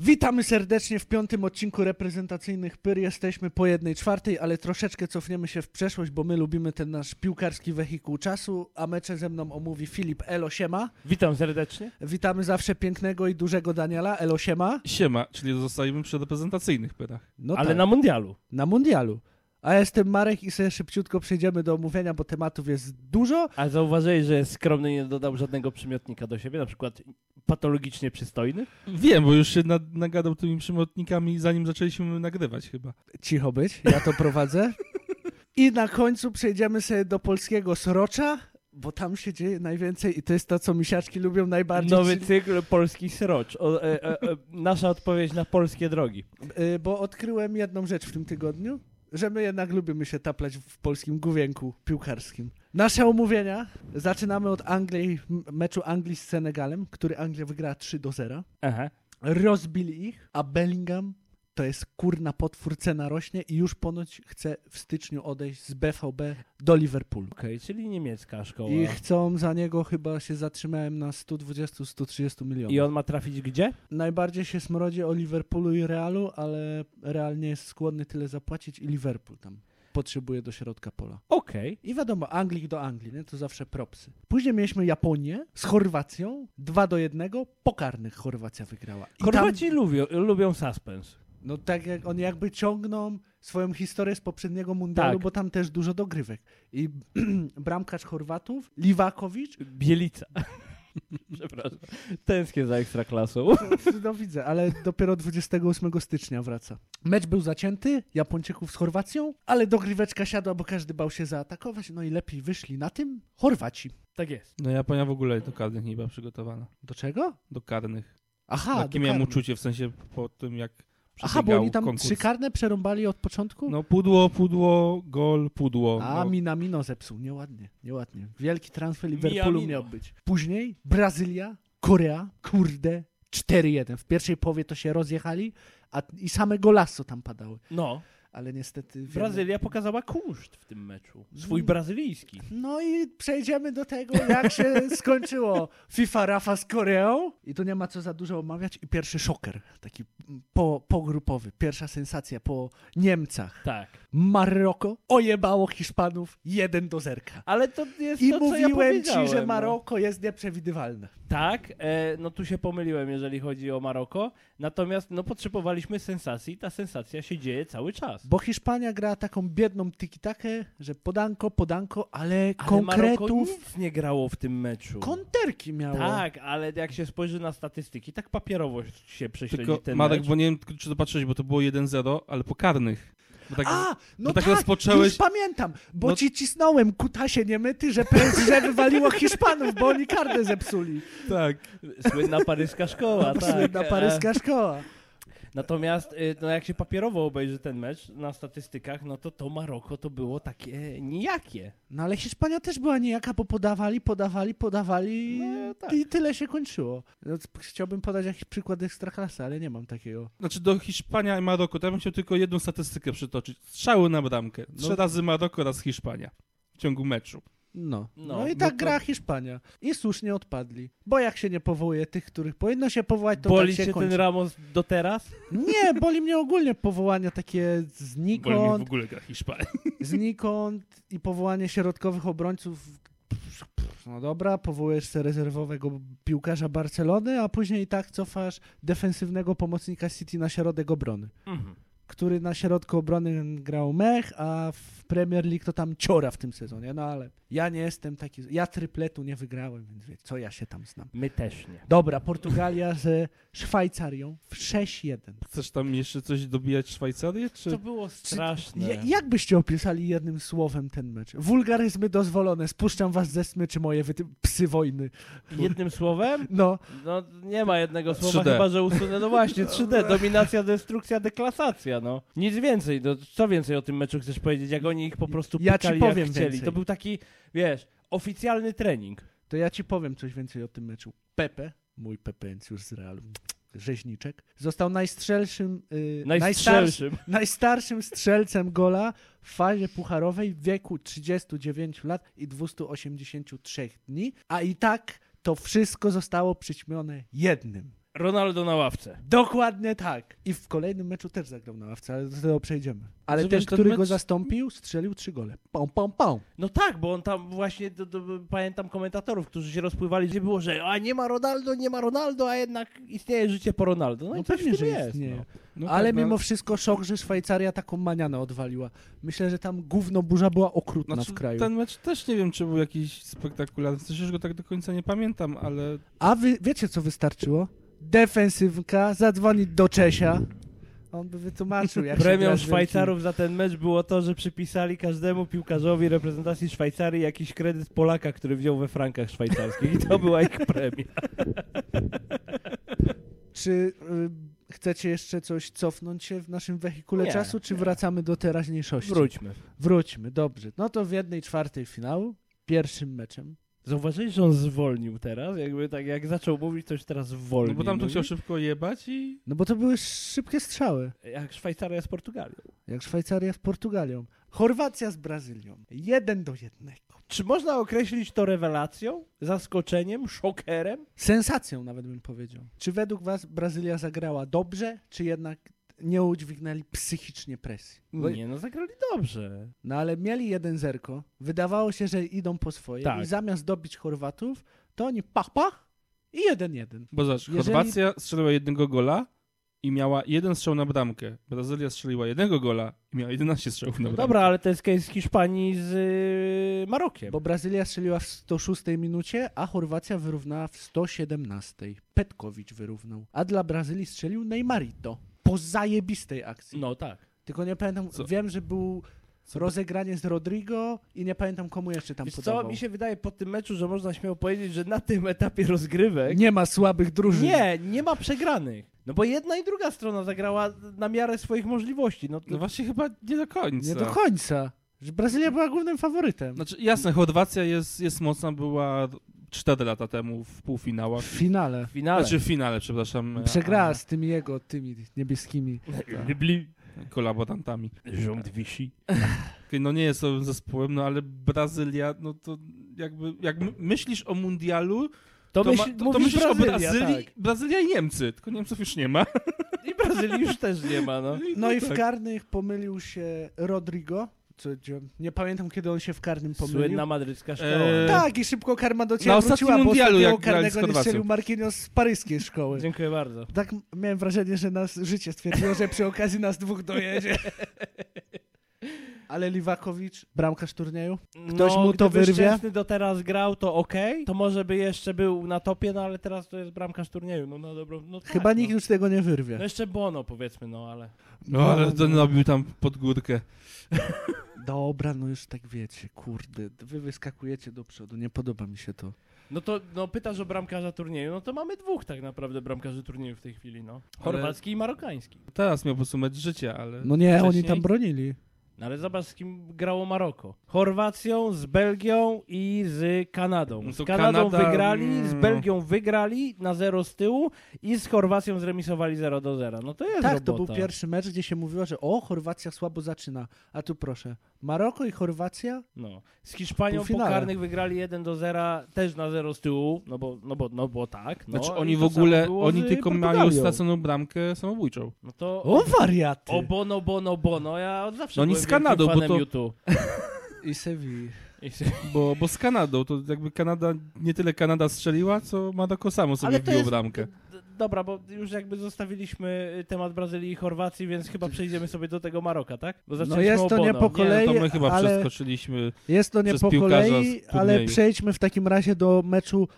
Witamy serdecznie w piątym odcinku reprezentacyjnych Pyr. Jesteśmy po jednej czwartej, ale troszeczkę cofniemy się w przeszłość, bo my lubimy ten nasz piłkarski wehikuł czasu, a mecze ze mną omówi Filip Elosiema. Witam serdecznie. Witamy zawsze pięknego i dużego Daniela Elosiema. Siema, czyli zostajemy przy reprezentacyjnych pyrach. No ale tak, na mundialu. na mundialu. A ja jestem Marek i sobie szybciutko przejdziemy do omówienia, bo tematów jest dużo. A zauważyłeś, że skromny nie dodał żadnego przymiotnika do siebie, na przykład patologicznie przystojny? Wiem, bo już się na, nagadał tymi przymiotnikami, zanim zaczęliśmy nagrywać chyba. Cicho być, ja to prowadzę. I na końcu przejdziemy sobie do polskiego srocza, bo tam się dzieje najwięcej i to jest to, co misiaczki lubią najbardziej. Nowy czyli- cykl Polski Srocz. O, e, e, e, nasza odpowiedź na polskie drogi. Y, bo odkryłem jedną rzecz w tym tygodniu, że my jednak lubimy się taplać w polskim główienku piłkarskim. Nasze omówienia zaczynamy od Anglii, m- meczu Anglii z Senegalem, który Anglia wygrała 3 do 0. Aha. Rozbili ich, a Bellingham to jest kurna potwór, cena rośnie i już ponoć chce w styczniu odejść z BVB do Liverpoolu. Okej, czyli niemiecka szkoła. I I, chcą za niego, chyba się zatrzymałem na 120-130 milionów. on ma trafić gdzie? Najbardziej się smrodzi o Liverpoolu i Realu, ale Real nie jest skłonny tyle zapłacić i Liverpool tam potrzebuje do środka pola. Okej. I wiadomo, Anglik do Anglii, nie? to zawsze propsy. Później mieliśmy Japonię z Chorwacją, 2 do 1, pokarnych Chorwacja wygrała. I Chorwaci lubią, lubią suspens. Tam, no tak jak oni jakby ciągną swoją historię z poprzedniego mundialu, Tak. bo tam też dużo dogrywek. I bramkarz Chorwatów, Liwakowicz, Bielica. Przepraszam. Tęsknię za ekstraklasą. No widzę, ale dopiero 28 stycznia wraca. Mecz był zacięty, Japończyków z Chorwacją, ale dogryweczka siadła, bo każdy bał się zaatakować, no i lepiej wyszli na tym Chorwaci. Tak jest. No Japonia w ogóle do karnych nie była przygotowana. Do czego? Do karnych. Aha, Jakie do miałem karnych. uczucie, w sensie po tym jak Aha, bo oni przebiegał tam konkurs. trzy karne przerąbali od początku? No pudło, pudło, gol, pudło. A no. Minamino zepsuł, nieładnie, nieładnie. Wielki transfer Liverpoolu Minamino. miał być. Później Brazylia, Korea, kurde, 4-1. W pierwszej połowie to się rozjechali, a i same golasso tam padały. No, Ale niestety... wiemy- Brazylia pokazała kunszt w tym meczu. Swój brazylijski. No i przejdziemy do tego, jak się skończyło FIFA Rafa z Koreą. I tu nie ma co za dużo omawiać. I pierwszy szoker, taki mm, po, pogrupowy, pierwsza sensacja po Niemcach. Tak. Maroko ojebało Hiszpanów 1 do zerka. Ale to jest I to, co ja mówiłem powiedziałem, ci, że no. Maroko jest nieprzewidywalne. Tak, e, no tu się pomyliłem, jeżeli chodzi o Maroko. Natomiast no potrzebowaliśmy sensacji, ta sensacja się dzieje cały czas. Bo Hiszpania gra taką biedną tiki-takę, że podanko, podanko, ale, Ale Maroko konkretów, nic nie grało w tym meczu. konterki miało. tak, ale jak się spojrzy na statystyki, tak papierowo się prześledzi Tylko ten Marek, mecz. bo nie wiem tylko, czy to patrzyłeś, bo to było 1-0, ale po karnych. Bo tak, A, no bo tak, tak rozpocząłeś- już pamiętam, bo No- ci cisnąłem, kutasie niemyty, że PSG wywaliło Hiszpanów, bo oni kartę zepsuli. tak. Słynna paryska szkoła, tak. Słynna E, paryska szkoła. Natomiast y, no jak się papierowo obejrzy ten mecz na statystykach, no to to Maroko to było takie nijakie. No ale Hiszpania też była niejaka, bo podawali, podawali, podawali No, tak. i tyle się kończyło. No, c- Chciałbym podać jakiś przykład ekstraklasy, ale nie mam takiego. Znaczy do Hiszpania i Maroko, to ja bym chciał tylko jedną statystykę przytoczyć. Strzały na bramkę. Trzy No. razy Maroko, raz Hiszpania. W ciągu meczu. No. No, No, i no tak to- gra Hiszpania. I słusznie odpadli. Bo jak się nie powołuje tych, których powinno się powołać, to Boli tak się, się kończy. ten Ramos do teraz? Nie, boli mnie ogólnie powołania takie Bo mi w znikąd. ogóle gra Hiszpania. znikąd i powołanie środkowych obrońców. Pff, pff, No dobra, powołujesz sobie rezerwowego piłkarza Barcelony, a później i tak cofasz defensywnego pomocnika City na środek obrony, Mhm. który na środku obrony grał mech, a w Premier League to tam ciora w tym sezonie. No ale ja nie jestem taki, ja trypletu nie wygrałem, więc wie, co ja się tam znam. My też nie. Dobra, Portugalia ze Szwajcarią w 6-1. Chcesz tam jeszcze coś dobijać Szwajcarię? Czy... To było straszne. Ja- Jak byście opisali jednym słowem ten mecz? Wulgaryzmy dozwolone, spuszczam was ze smyczy moje wy, psy wojny. Jednym słowem? No, No nie ma jednego słowa, 3D. chyba że usunę. No właśnie, 3D, dominacja, destrukcja, deklasacja, no. Nic więcej, no co więcej o tym meczu chcesz powiedzieć, jak oni ich po prostu Ja ci pykali powiem jak chcieli. więcej. To był taki, wiesz, oficjalny trening. to ja ci powiem coś więcej o tym meczu. Pepe, mój pepencjusz z Realu, rzeźniczek, został najstrzelszym, yy, najstarszym, Najstrzelszym. najstarszym strzelcem gola w fazie pucharowej w wieku 39 lat i 283 dni, a i tak to wszystko zostało przyćmione jednym. Ronaldo na ławce. Dokładnie tak. I w kolejnym meczu też zagrał na ławce, ale do tego przejdziemy. Ale Rozumiem, ten, ten który mecz- go zastąpił, strzelił trzy gole. Pom, pom, pom. No tak, bo on tam właśnie, do, do, pamiętam komentatorów, którzy się rozpływali, gdzie było, że a nie ma Ronaldo, nie ma Ronaldo, a jednak istnieje życie po Ronaldo. No, No, i coś pewnie, w tym że jest. istnieje. No. No ale tak, no, mimo wszystko szok, że Szwajcaria taką manianę odwaliła. Myślę, że tam gówno burza była okrutna znaczy, w kraju. Ten mecz też nie wiem, czy był jakiś spektakularny. W sensie, że go tak do końca nie pamiętam, ale no A wy wiecie, co wystarczyło? Defensywka, zadzwonić do Czesia. On by wytłumaczył, jak się gra Premią z wielkim- Szwajcarów za ten mecz było to, że przypisali każdemu piłkarzowi reprezentacji Szwajcarii jakiś kredyt Polaka, który wziął we frankach szwajcarskich i to była ich premia. Czy y, chcecie jeszcze coś cofnąć się w naszym wehikule Nie, czasu, czy nie. wracamy do teraźniejszości? Wróćmy. Wróćmy, dobrze. No to w jednej czwartej finału, pierwszym meczem. Zauważyłeś, że on zwolnił teraz? Jakby tak, jak zaczął mówić, to już teraz no zwolnił. bo tam tu Mówi, chciał szybko jebać i No bo to były szybkie strzały, Jak Szwajcaria z Portugalią. jak Szwajcaria z Portugalią. Chorwacja z Brazylią. Jeden do jednego. Czy można określić to rewelacją, zaskoczeniem, szokerem? Sensacją nawet bym powiedział. Czy według was Brazylia zagrała dobrze, czy jednak nie udźwignęli psychicznie presji? Bo- Nie, no zagrali dobrze. No ale mieli jeden zerko, wydawało się, że idą po swoje Tak. i zamiast dobić Chorwatów, to oni pach, pach i jeden jeden. Bo zobacz, Jeżeli- Chorwacja strzeliła jednego gola i miała jeden strzał na bramkę. Brazylia strzeliła jednego gola i miała 11 strzałów na bramkę. Dobra, ale to jest case Hiszpanii z y, Marokiem. Bo Brazylia strzeliła w 106 minucie, a Chorwacja wyrównała w 117. Petkowicz wyrównał. A dla Brazylii strzelił Neymarito. Po zajebistej akcji. No tak. Tylko nie pamiętam, Co? wiem, że był Co- rozegranie z Rodrigo i nie pamiętam komu jeszcze tam Wiesz co, podawał. mi się wydaje po tym meczu, że można śmiało powiedzieć, że na tym etapie rozgrywek Nie ma słabych drużyn. nie, nie ma przegranych. No bo jedna i druga strona zagrała na miarę swoich możliwości. No, to, No właśnie chyba nie do końca. Nie do końca. Że Brazylia była głównym faworytem. No Znaczy jasne, Chorwacja jest, jest mocna, była 4 lata temu w półfinałach. W finale. w finale. Znaczy w finale, No, przepraszam. Przegrała z tymi jego, tymi niebieskimi. Libli, a- Kolaborantami. rząd wisi. Okej, No nie jest to zespołem, no ale Brazylia, no to jakby, jak my- myślisz o mundialu, To, to, myśl, ma, to, to mówisz myślisz Brazylia, o Brazylii, tak. Brazylia i Niemcy, tylko Niemców już nie ma. I Brazylii już też nie ma, no. No i w tak. karnych pomylił się Rodrigo. Co, gdzie- nie pamiętam, kiedy on się w karnym pomylił. Słynna madrycka szkoła. Eee, Tak, i szybko karma do ciebie Na ostatnim wróciła, bo mundialu, ostatniego jak grali z karnego nie Chorwacją. strzelił Marquinhos z paryskiej szkoły. Dziękuję bardzo. Tak m- miałem wrażenie, że nas życie stwierdziło, że przy okazji nas dwóch dojedzie. Ale Liwakowicz, bramkarz turnieju? Tak, Ktoś mu to No, gdyby wyrwie? Szczęsny do teraz grał, to okej. To może by jeszcze był na topie, no ale teraz to jest bramkarz turnieju. No, no dobra, no tak, Chyba no. nikt już tego nie No wyrwie. jeszcze Bono powiedzmy, no ale... No ale ten robił tam pod górkę. Dobra, no już tak wiecie, kurde. Wy wyskakujecie do przodu, nie podoba mi się to. No to no, pytasz o bramkarza turnieju, no to mamy dwóch tak naprawdę bramkarzy turnieju w tej chwili, no. Chorwacki i marokański. Teraz miał po prostu mecz życia, ale... No nie, Wcześniej? oni tam bronili. No ale zobacz z kim grało Maroko. Chorwacją, z Belgią i z Kanadą. No Z to Kanadą Kanada, wygrali, z mm. Belgią wygrali na zero z tyłu i z Chorwacją zremisowali 0 do 0. No to jest Tak, robota. to był pierwszy mecz, gdzie się mówiło, że o, Chorwacja słabo zaczyna. A tu proszę, Maroko i Chorwacja No. Z Hiszpanią po Półfinale. karnych wygrali 1 do 0, też na 0 z tyłu, no bo, no bo, no bo tak. No, Znaczy i oni w to samo ogóle, było oni z y, tylko mają Portugalią. straconą bramkę samobójczą. No to... O, wariaty! O bono, bono, bono, ja od zawsze No oni byłem z wielkim Kanadą, bo fanem to- YouTube. I Sewilli. I z- Bo, bo z Kanadą, to jakby Kanada, nie tyle Kanada strzeliła, co Maroko samo sobie Ale to wbiło jest- bramkę. D- Dobra, bo już jakby zostawiliśmy y, temat Brazylii i Chorwacji, więc chyba przejdziemy sobie do tego Maroka, tak? Bo No jest od to nie Bono. po Nie, kolei, no to my chyba ale przeskoczyliśmy. jest to nie przez po piłkarza kolei, z ale turnieju. przejdźmy w takim razie do meczu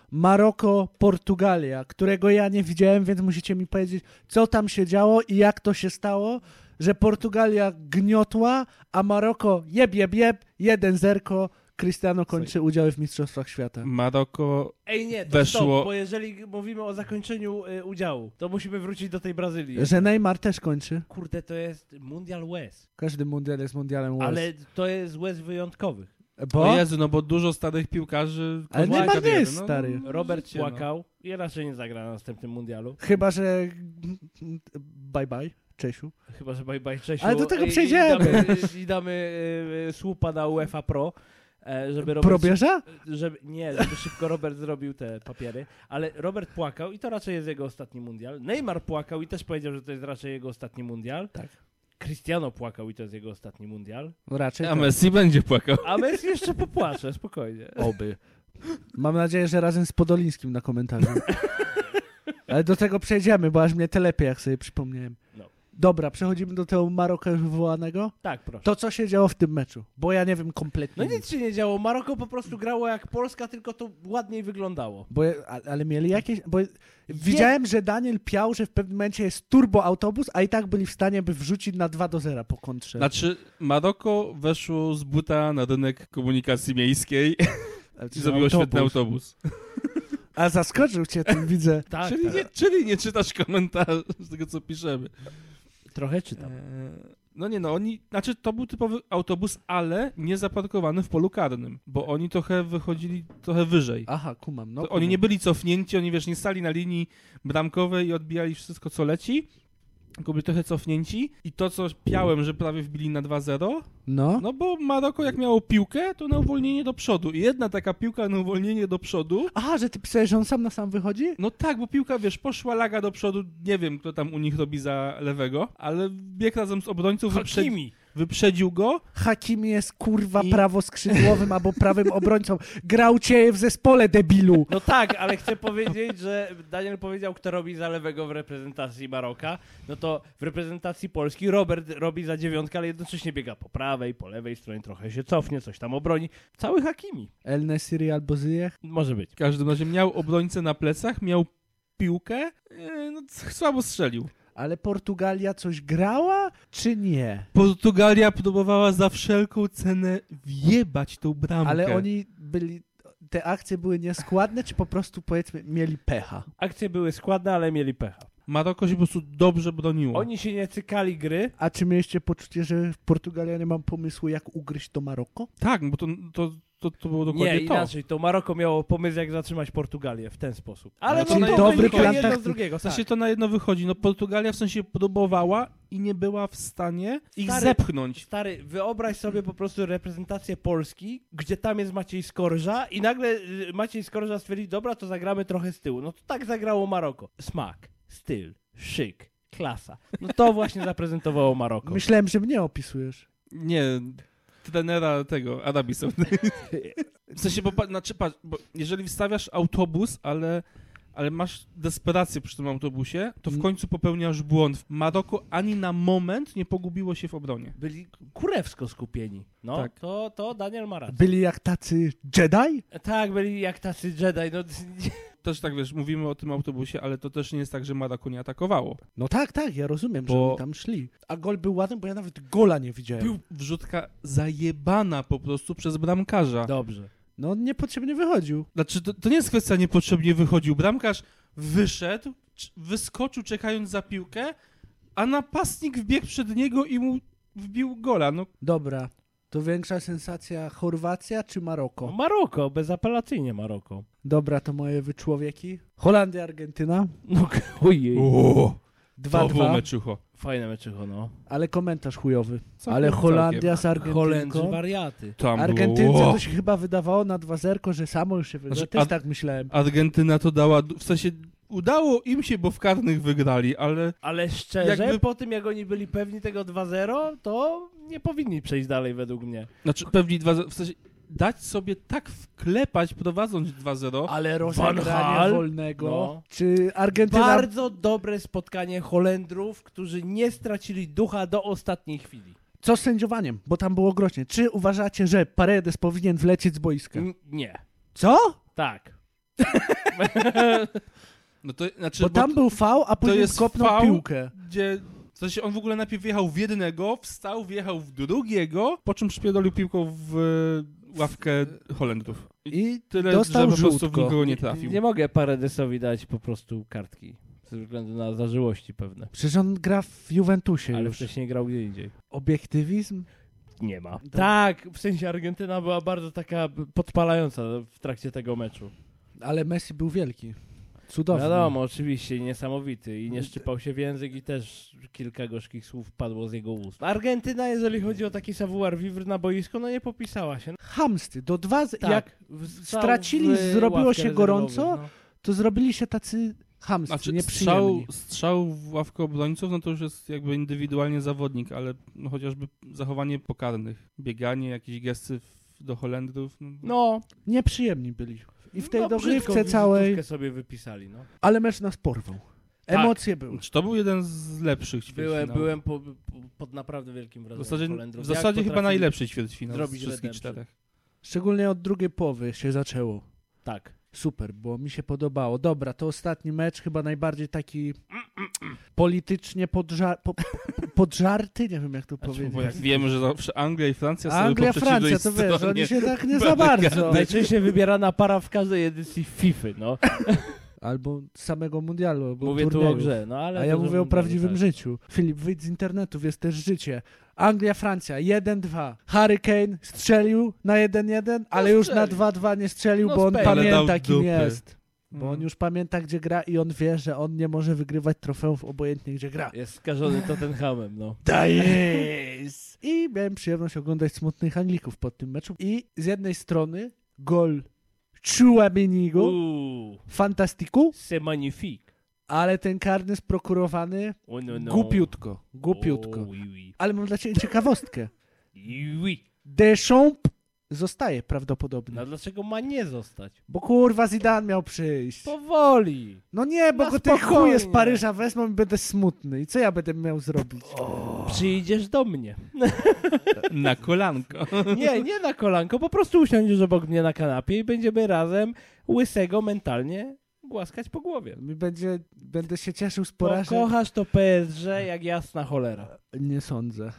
Maroko-Portugalia, którego ja nie widziałem, więc musicie mi powiedzieć, co tam się działo i jak to się stało, że Portugalia gniotła, a Maroko jeb, jeb, jeb, jeden zerko, Cristiano kończy udziały w Mistrzostwach Świata. Mm, Maroko, Ej nie, to Weszło- stop, bo jeżeli mówimy o zakończeniu y, udziału, to musimy wrócić do tej Brazylii. Że Neymar też kończy. Kurde, to jest mundial łez, Każdy mundial jest mundialem US. ale to jest łez wyjątkowych. Bo? o Jezu, no bo dużo starych piłkarzy... Ale kończy Neymar nie karierę, jest stary. Robert No, życie, płakał i raczej nie zagra na następnym mundialu. Chyba, że bye bye, Czesiu. Chyba, że bye bye Czesiu. Ale do tego I- przejdziemy. I damy, i damy y, y, słupa na UEFA Pro. e, żeby Robert Probierza? żeby, nie, żeby szybko Robert zrobił te papiery, ale Robert płakał i to raczej jest jego ostatni mundial. Neymar płakał i też powiedział, że to jest raczej jego ostatni mundial. Tak. Cristiano płakał i to jest jego ostatni mundial. No Raczej. A tak. Messi będzie płakał. A Messi jeszcze popłacze, spokojnie. Oby. Mam nadzieję, że razem z Podolińskim na komentarzu. Ale do tego przejdziemy, bo aż mnie telepie, jak sobie przypomniałem. No. Dobra, przechodzimy do tego Maroka już wywołanego. Tak, proszę. To, co się działo w tym meczu? Bo ja nie wiem No kompletnie. nic. nic się nie działo. Maroko po prostu grało jak Polska, tylko to ładniej wyglądało. Bo, ja- a- ale mieli jakieś... Bo widziałem, że Daniel piał, że w pewnym momencie jest turbo autobus, a i tak byli w stanie, by wrzucić na 2 do 0 po kontrze. Znaczy, Maroko weszło z buta na rynek komunikacji miejskiej Znaczy, Ale i co, zrobiło świetny autobus. Tak, A zaskoczył cię ten, widzę. Tak, czyli, tak. Nie, czyli nie czytasz komentarzy z tego, co piszemy. Trochę czytam. E, No nie no, oni, znaczy to był typowy autobus, ale nie zaparkowany w polu karnym, bo oni trochę wychodzili trochę wyżej. Aha, kumam. No, To oni kumam. nie byli cofnięci, oni wiesz, nie stali na linii bramkowej i odbijali wszystko co leci, tylko byli trochę cofnięci i to co piałem, że prawie wbili na 2-0, No. no bo Maroko jak miało piłkę, to na uwolnienie do przodu i jedna taka piłka na uwolnienie do przodu, Aha, że ty pisałeś, że on sam na sam wychodzi? no tak, bo piłka, wiesz, poszła laga do przodu, nie wiem kto tam u nich robi za lewego, ale bieg razem z obrońców wyprze- Hakimi. wyprzedził go Hakimi jest kurwa I- prawoskrzydłowym albo prawym obrońcą. Grał cię w zespole debilu. No tak, ale chcę powiedzieć, że Daniel powiedział, kto robi za lewego w reprezentacji Maroka. No to w reprezentacji Polski Robert robi za dziewiątkę, ale jednocześnie biega po prawej, po lewej stronie, trochę się cofnie, coś tam obroni. Cały Hakimi. El Nesiri albo Ziyech. Może być. W każdym razie miał obrońcę na plecach, miał piłkę, e, no c- słabo strzelił. Ale Portugalia coś grała, czy nie? Portugalia próbowała za wszelką cenę wjebać tą bramkę. Ale oni byli... Te akcje były nieskładne, czy po prostu, powiedzmy, mieli pecha? Akcje były składne, ale mieli pecha. Maroko się po prostu dobrze broniło. Oni się nie cykali gry. A czy mieliście poczucie, że Portugalia nie ma pomysłu, jak ugryźć to Maroko? Tak, bo to, to, to, to było dokładnie nie, to. inaczej. To Maroko miało pomysł, jak zatrzymać Portugalię w ten sposób. Ale No to no, to dobry wynika plan jedno z takty- drugiego. W sensie Tak. to na jedno wychodzi. No Portugalia w sensie próbowała i nie była w stanie ich Stary- zepchnąć. Stary, wyobraź sobie po prostu reprezentację Polski, gdzie tam jest Maciej Skorża i nagle y, Maciej Skorża stwierdzi, dobra, to zagramy trochę z tyłu. No to tak zagrało Maroko. Smak, styl, szyk, klasa. No to właśnie zaprezentowało Maroko. Myślałem, że mnie opisujesz. Nie, trenera tego, Arabii Saudyjskiej. W sensie, bo, pa- znaczy, patrz, bo jeżeli wstawiasz autobus, ale, ale masz desperację przy tym autobusie, to w Mm. końcu popełniasz błąd. Maroko ani na moment nie pogubiło się w obronie. Byli kurewsko skupieni. No, Tak. to, to Daniel ma rację. Byli jak tacy Jedi? Tak, byli jak tacy Jedi. No, Też tak, wiesz, mówimy o tym autobusie, ale to też nie jest tak, że Maroko nie atakowało. No tak, tak, ja rozumiem, że Bo- oni tam szli. A gol był ładny, bo ja nawet gola nie widziałem. Był wrzutka zajebana po prostu przez bramkarza. dobrze. No on niepotrzebnie wychodził. Znaczy, to, to nie jest kwestia niepotrzebnie wychodził. Bramkarz wyszedł, cz- wyskoczył czekając za piłkę, a napastnik wbiegł przed niego i mu wbił gola. No Dobra. To większa sensacja Chorwacja czy No, Maroko? Maroko, bezapelacyjnie Maroko. Dobra, to moje wyczłowieki. Holandia, Argentyna. No, ojej. O, to było 2-2. meczycho. Fajne meczycho, no. Ale komentarz chujowy. Całkiem, Ale całkiem. Holandia z Holendrzy Argentynką. wariaty. Tam Argentynce było, to się chyba wydawało na 2-0, że samo już się wygra. Znaczy, Też Ar- tak myślałem. Argentyna to dała, w sensie udało im się, bo w karnych wygrali, ale Ale szczerze, Jakby- po tym jak oni byli pewni tego 2-0, to nie powinni przejść dalej według mnie. znaczy pewnie dwa, w sensie dać sobie tak wklepać prowadząc 2-0. Ale Van rozegranie Hal? wolnego. No. Czy Argentyna... Bardzo dobre spotkanie Holendrów, którzy nie stracili ducha do ostatniej chwili. Co z sędziowaniem? Bo tam było groźnie. Czy uważacie, że Paredes powinien wlecieć z boiska? N- nie. Co? Tak. No to znaczy, Bo tam był fał, a później jest skopnął faul. piłkę. gdzie w sensie on w ogóle najpierw wjechał w jednego, wstał, wjechał w drugiego, po czym szpiedolił piłką w e, ławkę Holendrów. I I tyle, dostał że po prostu w żółtko. nikogo nie trafił. Nie mogę Paredesowi dać po prostu kartki. Ze względu na zażyłości pewne. Przecież on gra w Juventusie Ale już. wcześniej grał gdzie indziej. Obiektywizm? Nie ma. Tak, w sensie Argentyna była bardzo taka podpalająca w trakcie tego meczu. Ale Messi był wielki. Cudownie. Wiadomo, oczywiście, niesamowity. I nie szczypał się w język i też kilka gorzkich słów padło z jego ust. Argentyna, jeżeli chodzi o taki savoir vivre na boisko, no nie popisała się. Hamsty, do dwa, z- Tak, jak w- stracili, w zrobiło ławkę się gorąco, rezerwowych, to zrobili się tacy hamsty, Znaczy, strzał, nieprzyjemni. strzał w ławkę obrońców, no to już jest jakby indywidualnie zawodnik, ale no chociażby zachowanie pokarnych, bieganie, jakieś gesty w, do Holendrów. No, No, Nieprzyjemni byli. I w tej no, brzydką dogrywce wizytówkę całej, sobie wypisali, no. ale mecz nas porwał. Tak. Emocje były. Czy Znaczy, to był jeden z lepszych ćwierćfinałów? Byłem, byłem po, po, pod naprawdę wielkim W wrażeniem. zasadzie, Holendrów. w Jak zasadzie chyba potrafili- najlepszy ćwierćfinał z zrobić wszystkich redemption. czterech. Szczególnie od drugiej połowy się zaczęło. Tak. Super, bo mi się podobało. Dobra, to ostatni mecz, chyba najbardziej taki politycznie podża- po, po, podżarty, nie wiem jak to Znaczy, powiedzieć. bo tak. No, jak wiemy, że zawsze Anglia i Francja stoją Anglia, po przeciwnej Francja, to wiesz, stronie. oni się tak nie za bardzo. Najczęściej wybierana para w każdej edycji FIFA, no. Albo samego mundialu, albo Mówię tu turnieju. o grze, no ale... A ja dużo mówię o mundialu, prawdziwym tak. życiu. Filip, wyjdź z internetów, jest też życie. Anglia, Francja, 1-2. Harry Kane strzelił na 1-1, ale już na No strzelił. 2-2 nie strzelił, No bo on strzelił. Mm. Ale pamięta, dał kim dupy. jest. Bo Mhm. on już pamięta, gdzie gra i on wie, że on nie może wygrywać trofeów obojętnie, gdzie gra. Jest skażony Tottenhamem, no. Dajesz! I miałem przyjemność oglądać smutnych Anglików po tym meczu. I z jednej strony gol Chouamenigo, Uuu, fantastiku, c'est magnifique. ale ten karny sprokurowany Oh, no, no. głupiutko, głupiutko. Oh, oui, oui. Ale mam dla ciebie ciekawostkę. Oui, oui. Deschamps zostaje prawdopodobnie. No dlaczego ma nie zostać? Bo kurwa Zidane miał przyjść. Powoli. No nie, bo Na go te chuje z spokojnie. Paryża wezmą i będę smutny. I co ja będę miał zrobić? Przyjdziesz do mnie. Na kolanko. Nie, nie na kolanko, po prostu usiądziesz obok mnie na kanapie i będziemy razem łysego mentalnie głaskać po głowie. Mi będzie, będę się cieszył z porażek. Pokochasz to PSG jak jasna cholera. Nie sądzę.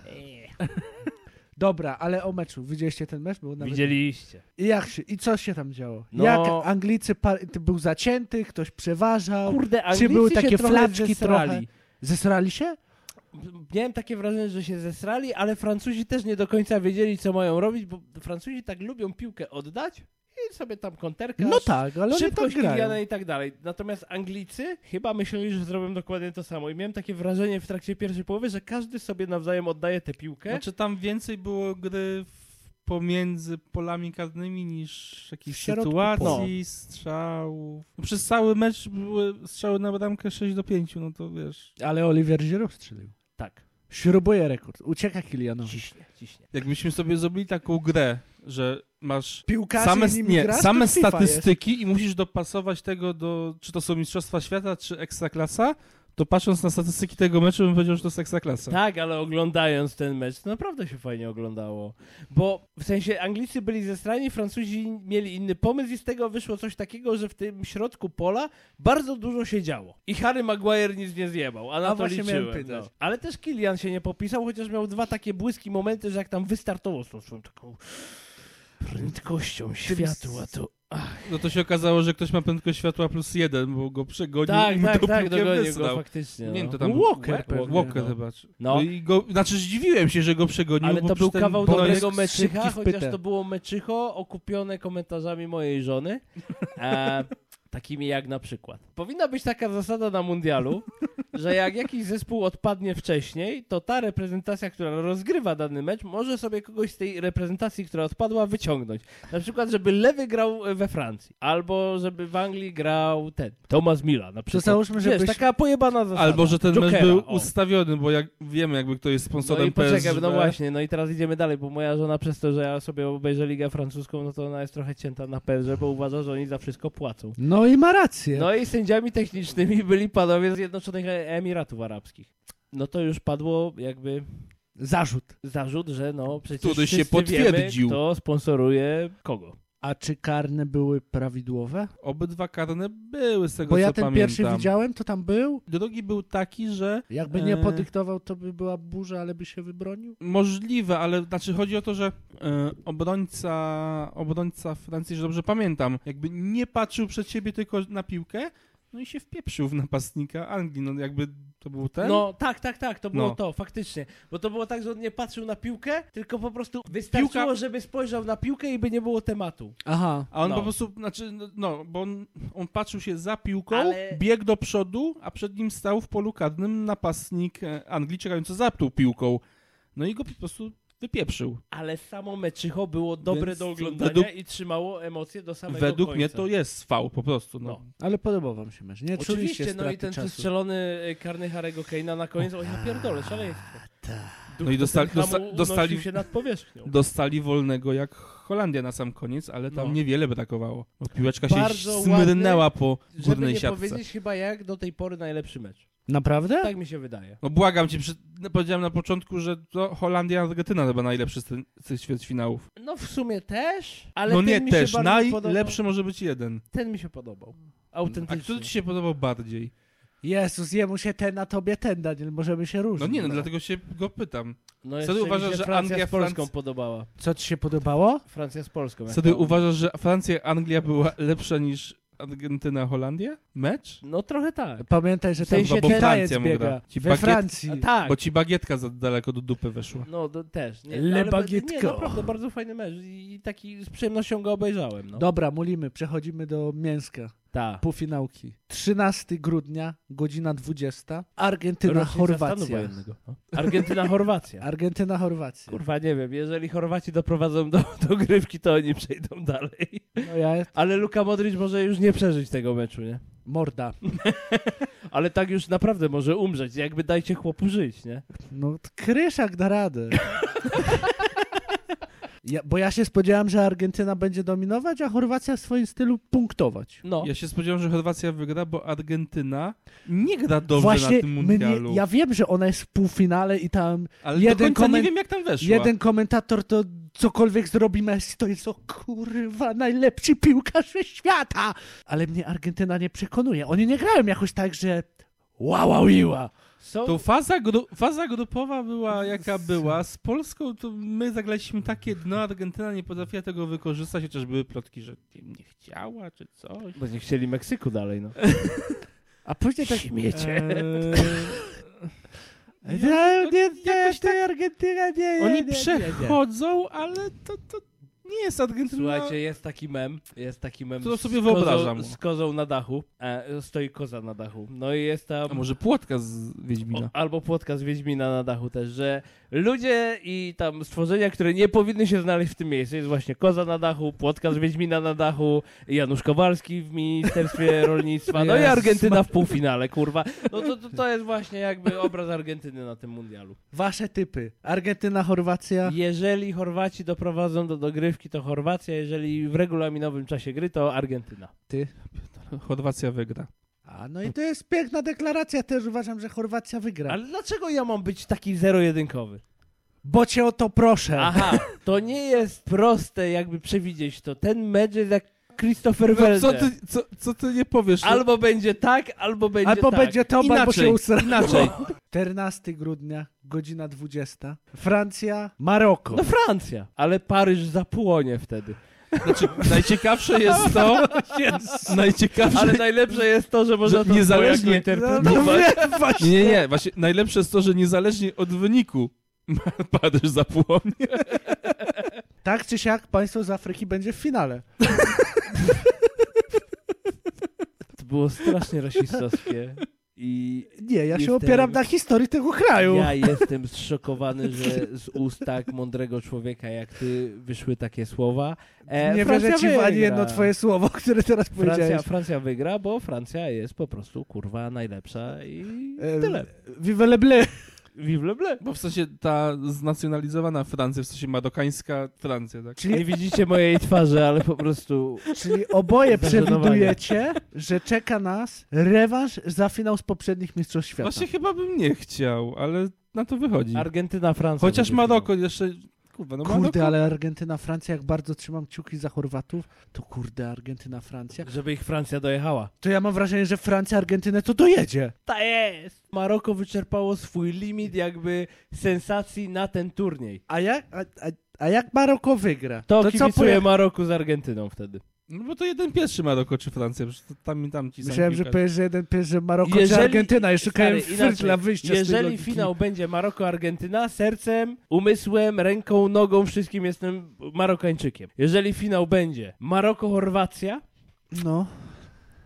Dobra, ale o meczu. Widzieliście ten mecz? Był nawet... Widzieliście. I jak się, i co się tam działo? No. Jak Anglicy, par... to był zacięty, ktoś przeważał. Kurde, Anglicy były się takie trochę flaczki zesrali. Zesrali się? Miałem takie wrażenie, że się zesrali, ale Francuzi też nie do końca wiedzieli, co mają robić, bo Francuzi tak lubią piłkę oddać i sobie tam konterka, No tak, ale oni tak szybkość grają. Liliana i tak dalej. Natomiast Anglicy chyba myśleli, że zrobią dokładnie to samo. I miałem takie wrażenie w trakcie pierwszej połowy, że każdy sobie nawzajem oddaje tę piłkę. Znaczy tam więcej było gry w- pomiędzy polami karnymi niż W jakichś środku sytuacji, pola. strzałów. No, przez cały mecz były strzały na bramkę 6 do 5, no to wiesz. Ale Oliver Giroud strzelił. tak. Śrubuje rekord. Ucieka Kilianowi. Ciśnie, ciśnie. Jakbyśmy sobie zrobili taką grę, że masz Piłkarze same, z nim nie, grasz, to same FIFA statystyki i musisz dopasować tego do, czy to są Mistrzostwa Świata, czy Ekstraklasa, to patrząc na statystyki tego meczu bym powiedział, że to jest Ekstraklasa. Tak, ale oglądając ten mecz, to naprawdę się fajnie oglądało. Bo w sensie Anglicy byli zesrani, Francuzi mieli inny pomysł i z tego wyszło coś takiego, że w tym środku pola bardzo dużo się działo. I Harry Maguire nic nie zjebał, a na A to właśnie liczyłem. miałem pytać. No. Ale też Kilian się nie popisał, chociaż miał dwa takie błyski momenty, że jak tam wystartował z tą swoją taką prędkością światła, to... No to się okazało, że ktoś ma prędkość światła plus jeden, bo go przegonił i Tak, mu tak, tą tak, piłkę dogonił wysłał. go faktycznie. Nie wiem, no. to tam... Walker Walker, pewnie, Walker no. chyba. czy- No. No. I go, znaczy zdziwiłem się, że go przegonił, Ale bo to przecież był ten kawał Borek- dobrego szybki meczycha, w chociaż pytę. to było meczycho okupione komentarzami mojej żony. E, takimi jak na przykład. Powinna być taka zasada na mundialu, że jak jakiś zespół odpadnie wcześniej, to ta reprezentacja, która rozgrywa dany mecz, może sobie kogoś z tej reprezentacji, która odpadła, wyciągnąć. Na przykład, żeby lewy grał e, we Francji, albo żeby w Anglii grał ten, Thomas Mila na przykład. załóżmy, Wiesz, żebyś- taka pojebana zasada. Albo, że ten Jokera, mecz był o. ustawiony, bo jak wiemy, jakby kto jest No sponsorem i poczekaj, PSG. no właśnie, no i teraz idziemy dalej, bo moja żona przez to, że ja sobie obejrzę Ligę Francuską, no to ona jest trochę cięta na PSG, bo uważa, że oni za wszystko płacą. No i ma rację. No i sędziami technicznymi byli panowie z Zjednoczonych Emiratów Arabskich. No to już padło jakby Zarzut. zarzut, że no przecież Który się wszyscy potwierdził. wiemy, kto sponsoruje kogo. A czy karne były prawidłowe? Obydwa karne były z tego, Bo co ja ten pamiętam. pierwszy widziałem, to tam był. Drugi był taki, że Jakby nie E. Eee. podyktował, to by była burza, ale by się wybronił. możliwe, ale znaczy chodzi o to, że e, obrońca, obrońca Francji, że dobrze pamiętam, jakby nie patrzył przed siebie tylko na piłkę, No i się wpieprzył w napastnika Anglii. No jakby to był ten. No tak, tak, tak, to było No. to, faktycznie. Bo to było tak, że on nie patrzył na piłkę, tylko po prostu wystarczyło, Piłka- żeby spojrzał na piłkę i by nie było tematu. Aha. A on No. po prostu, znaczy, no, no, bo on, on patrzył się za piłką, Ale- biegł do przodu, a przed nim stał w polu karnym napastnik e, Anglii, czekający za tą piłką. No i go po prostu wypieprzył. Ale samo meczycho było dobre Więc do oglądania według- i trzymało emocje do samego Według końca. mnie to jest fał po prostu. No. No. Ale podobał wam się mecz. Nie czuliście Oczywiście, straty no i ten czasu. przestrzelony e, karny Harego Kane'a na koniec, o ja pierdolę, szaleństwo. Duch No i dostali- Tottenhamu dosta- dostali- unosił się nad powierzchnią. Dostali wolnego jak Holandia na sam koniec, ale tam No. niewiele brakowało. Bo piłeczka Bardzo się smyrnęła po Żeby górnej nie siatce. powiedzieć chyba jak do tej pory najlepszy mecz. Naprawdę? Tak mi się wydaje. No błagam cię, przy... no, powiedziałem na początku, że to Holandia Argentyna chyba najlepszy z tych- z tych ćwierćfinałów. No w sumie też, ale no ten nie mi też, się bardziej najlepszy Podobał, może być jeden. ten mi się podobał. A Autentycznie. kto ci się podobał bardziej? Jezus, jemu się ten, a tobie ten, Daniel. Możemy się No różnić. nie, no, dlatego się go pytam. No Co ty jeszcze mi uważasz, się że Francja Anglia, z Polską Franc- podobała? Co ci się podobało? Francja z Polską. jak Wtedy to- uważasz, że Francja, Anglia była lepsza niż Argentyna, Holandia? Mecz? No trochę tak. Pamiętaj, że W sensie ten się bo Francja Francja mu biega. gra. Ci We bagiet- Francji. A, tak. Bo ci bagietka za daleko do dupy weszła. No do, też. Le Nie, ale, ba- nie, no, bagietko. naprawdę bardzo fajny mecz i, i taki z przyjemnością go obejrzałem. No. Dobra, mulimy. Przechodzimy do mięska. Tak. Półfinałki. 13 grudnia, godzina 20. Argentyna, Rocznica stanu Chorwacja. wojennego. No. Argentyna, Chorwacja. Argentyna, Chorwacja. Kurwa, nie wiem, jeżeli Chorwaci doprowadzą do, do grywki, to oni przejdą dalej. No ja, Ale Luka Modric może już nie przeżyć tego meczu, nie? morda. Ale tak już naprawdę może umrzeć, jakby dajcie chłopu żyć, nie? No, t- Kryszak da radę. Ja, bo ja się spodziewałem, że Argentyna będzie dominować, a Chorwacja w swoim stylu punktować. No. Ja się spodziewałem, że Chorwacja wygra, bo Argentyna nie gra dobrze Właśnie na tym mundialu. Mnie, ja wiem, że ona jest w półfinale i tam Ale do jeden końca komen- nie wiem, jak tam weszła. jeden komentator to cokolwiek zrobi Messi, to jest o kurwa najlepszy piłkarz świata. Ale mnie Argentyna nie przekonuje. Oni nie grają jakoś tak, że wow, wow, wow. Są... To faza, gru... faza grupowa była jaka była. Z Polską to my zagraliśmy takie dno, Argentyna nie potrafiła tego wykorzystać, chociaż były plotki, że nie chciała czy coś. Będzie chcieli Meksyku dalej, no. A później tak... Śmiecie. Eee, nie, nie, nie, jakoś nie, Argentyna nie, nie, nie, Oni nie, nie. przechodzą, ale to, to nie jest Argentyna. Słuchajcie, jest taki mem, jest taki mem. To sobie z wyobrażam. Kozą, z kozą na dachu, e, stoi koza na dachu. No i jest tam... A może płotka z O, Wiedźmina? albo płotka z Wiedźmina na dachu też, że ludzie i tam stworzenia, które nie powinny się znaleźć w tym miejscu, jest właśnie koza na dachu, płotka z Wiedźmina na dachu, Janusz Kowalski w Ministerstwie Rolnictwa, no i Jezus. Argentyna w półfinale, kurwa. No to, to, to jest właśnie jakby obraz Argentyny na tym mundialu. Wasze typy. Argentyna, Chorwacja. Jeżeli Chorwaci doprowadzą do dogrywki, to Chorwacja, jeżeli w regulaminowym czasie gry, to Argentyna. Chorwacja wygra. A no i to jest piękna deklaracja. Też uważam, że Chorwacja wygra. Ale dlaczego ja mam być taki zero-jedynkowy? Bo cię o to proszę. Aha, Tak. to nie jest proste jakby przewidzieć to. Ten mecz jest jak Christopher No, Welde. co, ty, co, co ty nie powiesz? Albo będzie tak, albo będzie Albo tak. będzie to, albo Inaczej, się usra. inaczej. 14 grudnia, godzina 20. Francja, Maroko. No Francja, ale Paryż zapłonie wtedy. Znaczy, najciekawsze jest to, najciekawsze Ale najlepsze jest to, że można Że to niezależnie- dwojako interpretować. No, no wiem, Nie, właśnie. nie, nie. Właśnie najlepsze jest to, że niezależnie od wyniku padesz za płonie. Tak czy siak, państwo z Afryki będzie w finale. To było strasznie rasistowskie. I Nie, ja I się w tym- opieram na historii tego kraju. ja jestem zszokowany, że z ust tak mądrego człowieka jak ty wyszły takie słowa. E, nie Francja wierzę ci w ani wygra. jedno twoje słowo, które teraz Francja, powiedziałeś. Francja wygra, bo Francja jest po prostu kurwa najlepsza i E, tyle. Vive le bleu. Vive le bleu. Bo w sensie ta znacjonalizowana Francja, w sensie marokańska Francja, tak? Czyli Nie widzicie mojej twarzy, ale po prostu Czyli oboje Zażenowanie. przewidujecie, że czeka nas rewanż za finał z poprzednich Mistrzostw Świata. Właśnie chyba bym nie chciał, ale na to wychodzi. Argentyna, Francja. Chociaż będzie Maroko jeszcze... Kurwa, no Kurde, Maroko... ale Argentyna, Francja, jak bardzo trzymam kciuki za Chorwatów, to kurde, Argentyna, Francja. finał. Tak, Żeby ich Francja dojechała. To ja mam wrażenie, że Francja, Argentynę to dojedzie. Ta jest! Maroko wyczerpało swój limit jakby sensacji na ten turniej. A jak, a, a, a jak Maroko wygra? To, co kibicuje poje- Maroku z Argentyną wtedy. No bo to jeden pies czy Maroko, czy Francja, przecież to tam i tam ci sami Myślałem, że piłkarze. powiesz, że jeden pies, że Maroko Jeżeli- czy Argentyna. Ja szukałem Stary, inaczej. furt dla wyjścia z tej Jeżeli logiki. finał będzie Maroko-Argentyna, sercem, umysłem, ręką, nogą, wszystkim jestem Marokańczykiem. Jeżeli finał będzie Maroko-Chorwacja, No.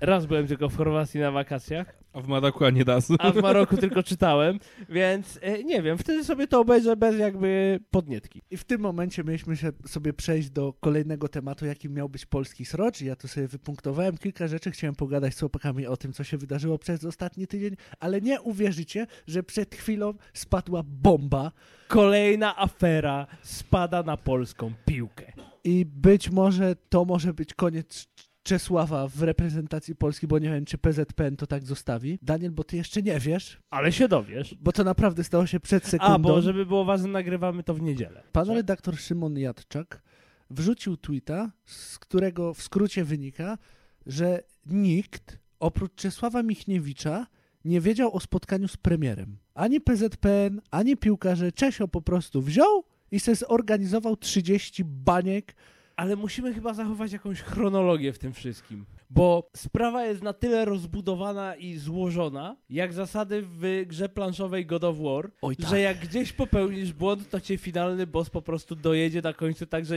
raz byłem tylko w Chorwacji na wakacjach, A w Maroku ani razu. a w Maroku tylko czytałem, więc e, nie wiem, wtedy sobie to obejrzę bez jakby podnietki. I w tym momencie mieliśmy się sobie przejść do kolejnego tematu, jakim miał być polski srocz. I Ja tu sobie wypunktowałem kilka rzeczy, chciałem pogadać z chłopakami o tym, co się wydarzyło przez ostatni tydzień, ale nie uwierzycie, że przed chwilą spadła bomba Kolejna afera spada na polską piłkę. i być może to może być koniec Czesława w reprezentacji Polski, bo nie wiem, czy PZPN to tak zostawi. Daniel, bo ty jeszcze nie wiesz, Ale się dowiesz. bo to naprawdę stało się przed sekundą. A, bo żeby było ważne, nagrywamy to w niedzielę. Pan że- redaktor Szymon Jadczak wrzucił tweeta, z którego w skrócie wynika, że nikt oprócz Czesława Michniewicza nie wiedział o spotkaniu z premierem. Ani PZPN, ani piłkarze. Czesio po prostu wziął i se zorganizował 30 baniek. Ale musimy chyba zachować jakąś chronologię w tym wszystkim. Bo sprawa jest na tyle rozbudowana i złożona, jak zasady w grze planszowej God of War, Oj że jak gdzieś popełnisz błąd, to cię finalny boss po prostu dojedzie na końcu, także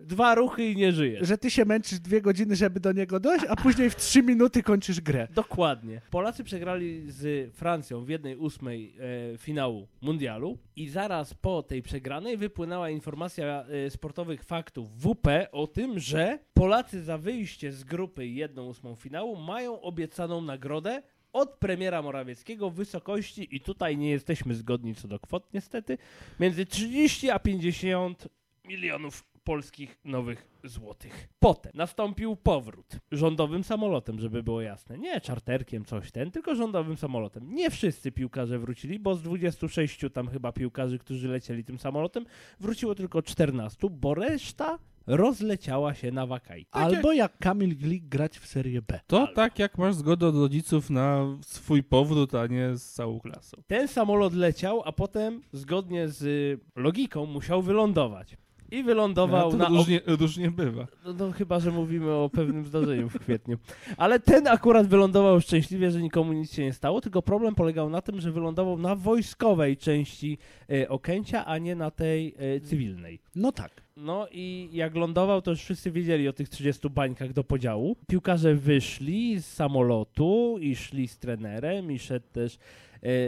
dwa ruchy i nie żyjesz. Że ty się męczysz dwie godziny, żeby do niego dojść, a później w trzy minuty kończysz grę. Dokładnie. Polacy przegrali z Francją w 1-8 e, finału mundialu i zaraz po tej przegranej wypłynęła informacja e, sportowych faktów WP o tym, że Polacy za wyjście z grupy 1-8 finału mają obiecaną nagrodę od premiera Morawieckiego w wysokości, i tutaj nie jesteśmy zgodni co do kwot niestety, między 30 a 50 milionów polskich nowych złotych. Potem nastąpił powrót rządowym samolotem, żeby było jasne. Nie czarterkiem coś ten, tylko rządowym samolotem. Nie wszyscy piłkarze wrócili, bo z 26 tam chyba piłkarzy, którzy lecieli tym samolotem, wróciło tylko 14, bo reszta rozleciała się na wakaj. Albo Tak jak Kamil Glik grać w Serię B. To tak jak masz zgodę od rodziców na swój powrót, a nie z całą klasą. Ten samolot leciał, a potem zgodnie z y, logiką musiał wylądować. I wylądował No, to na różnie, różnie bywa. No, no chyba, że mówimy o pewnym zdarzeniu w kwietniu. Ale ten akurat wylądował szczęśliwie, że nikomu nic się nie stało, tylko problem polegał na tym, że wylądował na wojskowej części e, Okęcia, a nie na tej e, cywilnej. No tak. No i jak lądował, to już wszyscy wiedzieli o tych 30 bańkach do podziału. Piłkarze wyszli z samolotu i szli z trenerem i szedł też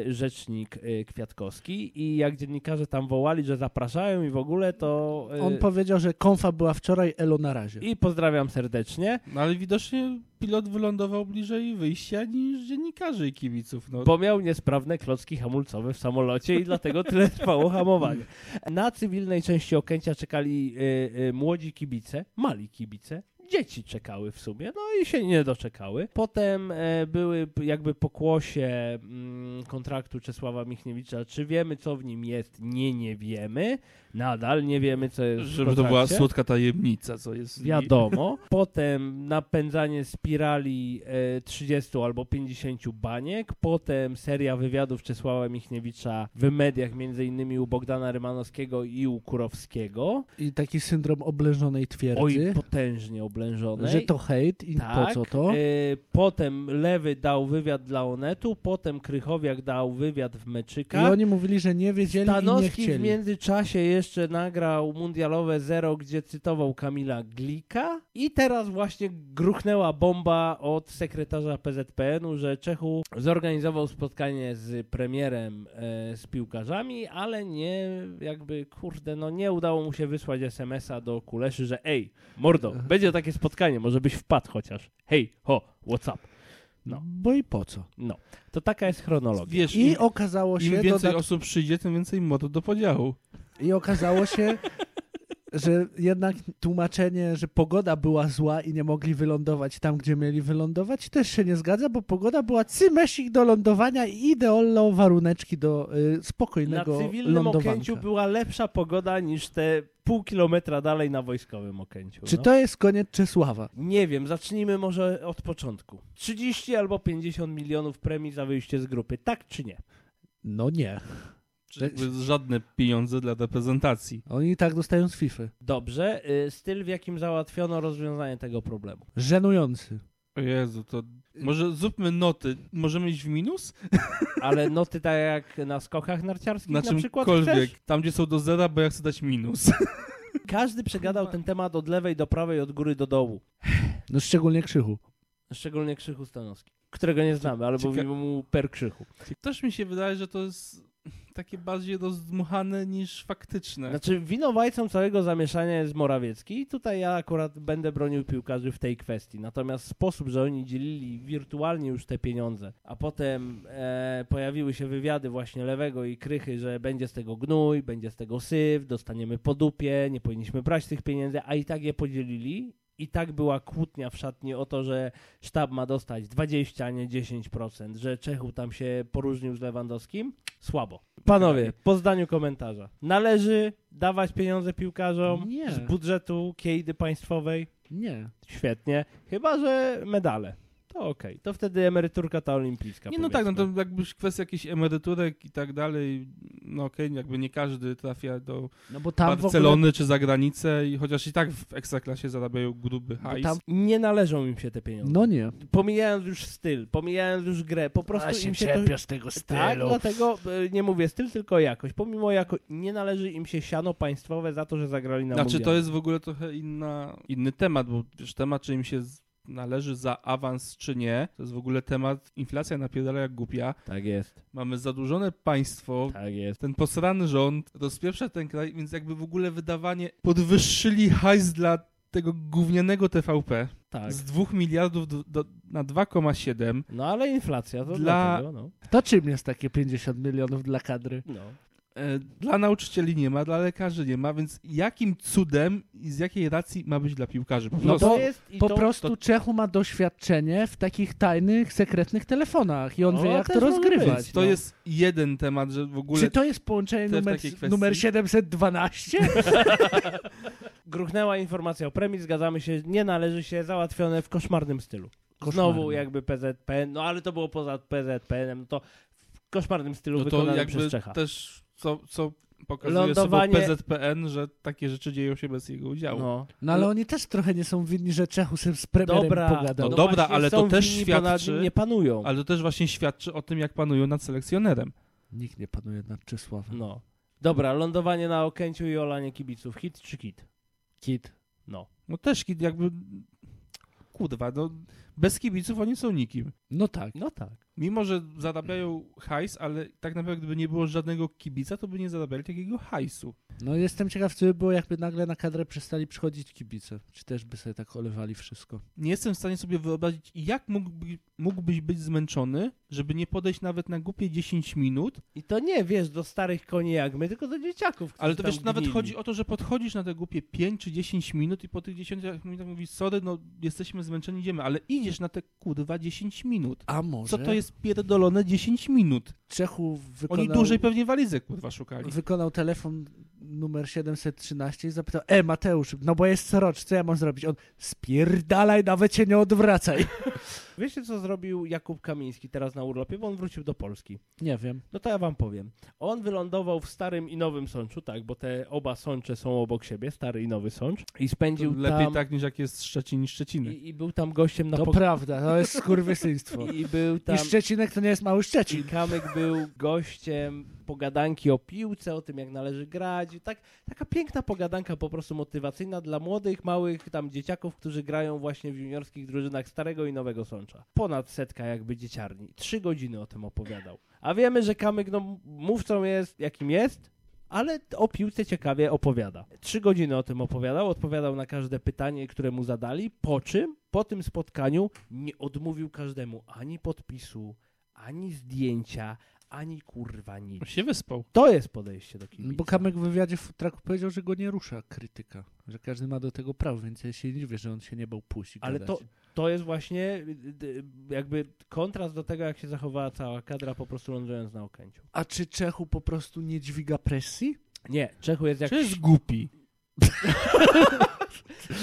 e, rzecznik e, Kwiatkowski i jak dziennikarze tam wołali, że zapraszają i w ogóle, to... E, On powiedział, że konfa była wczoraj, Elo na razie. I pozdrawiam serdecznie. No ale widocznie pilot wylądował bliżej wyjścia niż dziennikarzy i kibiców. No, Bo miał niesprawne klocki hamulcowe w samolocie i dlatego tyle trwało hamowanie. Na cywilnej części Okęcia czekali y, y, młodzi kibice, mali kibice. Dzieci czekały w sumie, no i się nie doczekały. Potem e, były p- jakby pokłosie mm, kontraktu Czesława Michniewicza. Czy wiemy, co w nim jest? Nie, nie wiemy. Nadal nie wiemy, co jest w żeby to była kontrakcie. słodka tajemnica, co jest... Wiadomo. Potem napędzanie spirali e, 30 albo 50 baniek. Potem seria wywiadów Czesława Michniewicza w mediach, między innymi u Bogdana Rymanowskiego i u Kurowskiego. I taki syndrom oblężonej twierdzy. Oj, potężnie oblężone. Że to hejt i po co to? E, potem Lewy dał wywiad dla Onetu, potem Krychowiak dał wywiad w Meczykach. I oni mówili, że nie wiedzieli i nie Stanowski w chcieli. międzyczasie jeszcze nagrał mundialowe Zero, gdzie cytował Kamila Glika i teraz właśnie gruchnęła bomba od sekretarza PZPN-u, że Czechu zorganizował spotkanie z premierem, e, z piłkarzami, ale nie jakby, kurde, no nie udało mu się wysłać SMS-a do Kuleszy, że ej, mordo, będzie takie spotkanie, może byś wpadł chociaż. Hej, ho, what's up? no. Bo i po co? No, to taka jest chronologia. Wiesz, I im, okazało się, im więcej dodat- osób przyjdzie, tym więcej modu do podziału. i okazało się że jednak tłumaczenie, że pogoda była zła i nie mogli wylądować tam, gdzie mieli wylądować, też się nie zgadza, bo pogoda była cymesik do lądowania i idealną waruneczki do y, Na spokojnego cywilnym lądowania. Okęciu była lepsza pogoda niż te pół kilometra dalej na wojskowym Okęciu. Czy no. to jest koniec Czesława? Nie wiem, zacznijmy może od początku. 30 albo 50 milionów premii za wyjście z grupy, tak czy nie? No nie. Czy jakby żadne pieniądze dla reprezentacji. Oni i tak dostają z FIFA. Dobrze, y, styl w jakim załatwiono rozwiązanie tego problemu. Żenujący. O Jezu, to może zróbmy noty. Możemy iść w minus? Ale noty tak jak na skokach narciarskich Na na, przykład czymkolwiek. chcesz? Tam, gdzie są do zera, bo ja chcę dać minus. Każdy przegadał ten temat od lewej do prawej, od góry do dołu. No szczególnie Krzychu. Szczególnie Krzychu Stanowski, którego nie znamy, ale Cieka- mówimy mu per Krzychu. Też mi się wydaje, że to jest takie bardziej rozdmuchane niż faktyczne. Znaczy winowajcą całego zamieszania jest Morawiecki i tutaj ja akurat będę bronił piłkarzy w tej kwestii. Natomiast sposób, że oni dzielili wirtualnie już te pieniądze, a potem e, pojawiły się wywiady właśnie Lewego i Krychy, że będzie z tego gnój, będzie z tego syf, dostaniemy po dupie, nie powinniśmy brać tych pieniędzy, a i tak je podzielili. I tak była kłótnia w szatni o to, że sztab ma dostać 20, a nie 10%, że Czechu tam się poróżnił z Lewandowskim. Słabo. Panowie, po zdaniu komentarza. Należy dawać pieniądze piłkarzom Nie. z budżetu kiejdy państwowej. Nie. Świetnie. Chyba, że medale. To okej. To wtedy emeryturka ta olimpijska. Nie, no tak, no powiedzmy. to jakby kwestia jakichś emeryturek i tak dalej, no okej, jakby nie każdy trafia do No bo tam w Barcelony ogóle... czy za granicę, i chociaż i tak w ekstraklasie zarabiają gruby hajs. Tam nie należą im się te pieniądze. No nie. Pomijając już styl, pomijając już grę, po prostu im się to... z tego Tak, dlatego e, nie mówię styl, tylko jakość. Pomimo jako nie należy im się siano państwowe za to, że zagrali no na Znaczy to mundialu. jest w ogóle trochę inna, inny temat, bo wiesz, temat czy im się z- należy za awans czy nie, to jest w ogóle temat inflacja napierdala jak głupia, Tak jest, mamy zadłużone państwo, tak jest. ten posrany rząd rozpieprza ten kraj, więc jakby w ogóle wydawanie, podwyższyli hajs dla tego gównianego TVP Tak. z 2 miliardów do, do, na 2,7 No ale inflacja to Dla- dlatego, no. To czym jest takie 50 milionów dla kadry? no. E, Dla nauczycieli nie ma, dla lekarzy nie ma, więc jakim cudem i z jakiej racji ma być dla piłkarzy? Po No prostu. to- jest i Po to- prostu to- Czechu ma doświadczenie w takich tajnych, sekretnych telefonach i on No, wie, jak też to może rozgrywać. być, to no. jest jeden temat, że w ogóle. Czy to jest połączenie Te w numer, takiej kwestii? numer 712? Gruchnęła informacja o premii, zgadzamy się, nie należy się, załatwione w koszmarnym stylu. Znowu no. Koszmarny. jakby PZPN, no ale to było poza PZPN-em, no to w koszmarnym stylu no to wykonane jakby przez Czecha. też co, co pokazuje Lądowanie- sobie PZPN, że takie rzeczy dzieją się bez jego udziału. No, No. No ale oni też trochę nie są winni, że Czechu sobie z premierem Dobra, pogadał. No dobra, właśnie ale są to też winni, bo nad świadczy- nim nie panują. Ale to też właśnie świadczy o tym, jak panują nad selekcjonerem. Nikt nie panuje nad Czesławem. No. Dobra, lądowanie na Okęciu i olanie kibiców, hit czy kit? Kit. No. No też kiedy jakby. Kurwa, no bez kibiców oni są nikim. No tak. No tak. Mimo, że zarabiają hajs, ale tak naprawdę gdyby nie było żadnego kibica, to by nie zarabiali takiego hajsu. No jestem ciekaw, co by było, jakby nagle na kadrę przestali przychodzić kibice. Czy też by sobie tak olewali wszystko. nie jestem w stanie sobie wyobrazić, jak mógłby, mógłbyś być zmęczony, żeby nie podejść nawet na głupie 10 minut, I to nie, wiesz, do starych koni jak my, tylko do dzieciaków, którzy ale to tam wiesz, nawet gnili. chodzi o to, że podchodzisz na te głupie 5 czy 10 minut i po tych 10 minutach mówisz, sorry, no jesteśmy zmęczeni, idziemy, ale idziesz na te kurwa 10 minut. A może Co to jest pierdolone 10 minut? Czechu Oni wykonał, dłużej pewnie walizek kurwa szukali. wykonał telefon numer 713 i zapytał, e Mateusz, no bo jest rocz, co ja mam zrobić? On, spierdalaj, nawet się nie odwracaj. Wiecie, co zrobił Jakub Kamiński teraz na urlopie, bo on wrócił do Polski. Nie wiem. No to ja wam powiem. On wylądował w Starym i Nowym Sączu, tak, bo te oba sącze są obok siebie, Stary i Nowy Sącz. I To spędził lepiej tam... tak niż jak jest Szczecin niż Szczeciny. I, I był tam gościem na to pok- No prawda, to jest skurwysyństwo. I był tam... I Szczecinek to nie jest mały I Szczecin. Kamek był gościem pogadanki o piłce, o tym jak należy grać. I Tak, taka piękna pogadanka po prostu motywacyjna dla młodych, małych tam dzieciaków, którzy grają właśnie w juniorskich drużynach Starego i Nowego Sącza. Ponad setka jakby dzieciarni. Trzy godziny o tym opowiadał. A wiemy, że Kamek no, mówcą jest jakim jest, ale o piłce ciekawie opowiada. Trzy godziny o tym opowiadał, odpowiadał na każde pytanie, które mu zadali, po czym po tym spotkaniu nie odmówił każdemu ani podpisu, ani zdjęcia, ani kurwa nic. Się wyspał. To jest podejście do kibica. Bo Kamek w wywiadzie w traku powiedział, że go nie rusza krytyka. Że każdy ma do tego prawo, więc ja się nie dziwię, że on się nie bał pójść i Ale gadać. to, to jest właśnie y, y, jakby kontrast do tego, jak się zachowała cała kadra po prostu lądując na Okęciu. A czy Czechu po prostu nie dźwiga presji? Nie, Czechu jest jak... Czy jest głupi?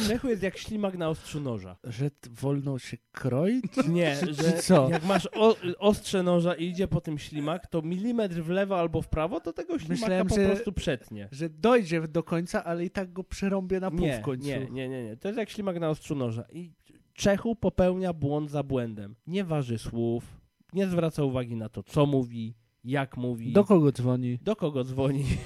Czechu jest jak ślimak na ostrzu noża. Że t- wolno się kroić? Nie, że Co? jak masz o, ostrze noża i idzie po tym ślimak, to milimetr w lewo albo w prawo, to tego ślimaka Myślałem, po że- prostu przetnie. Że dojdzie do końca, ale i tak go przerąbię na pół Nie, w końcu. nie, nie, nie, nie. To jest jak ślimak na ostrzu noża. I Czechu popełnia błąd za błędem. Nie waży słów, nie zwraca uwagi na to, co mówi, jak mówi. Do kogo dzwoni? do kogo dzwoni,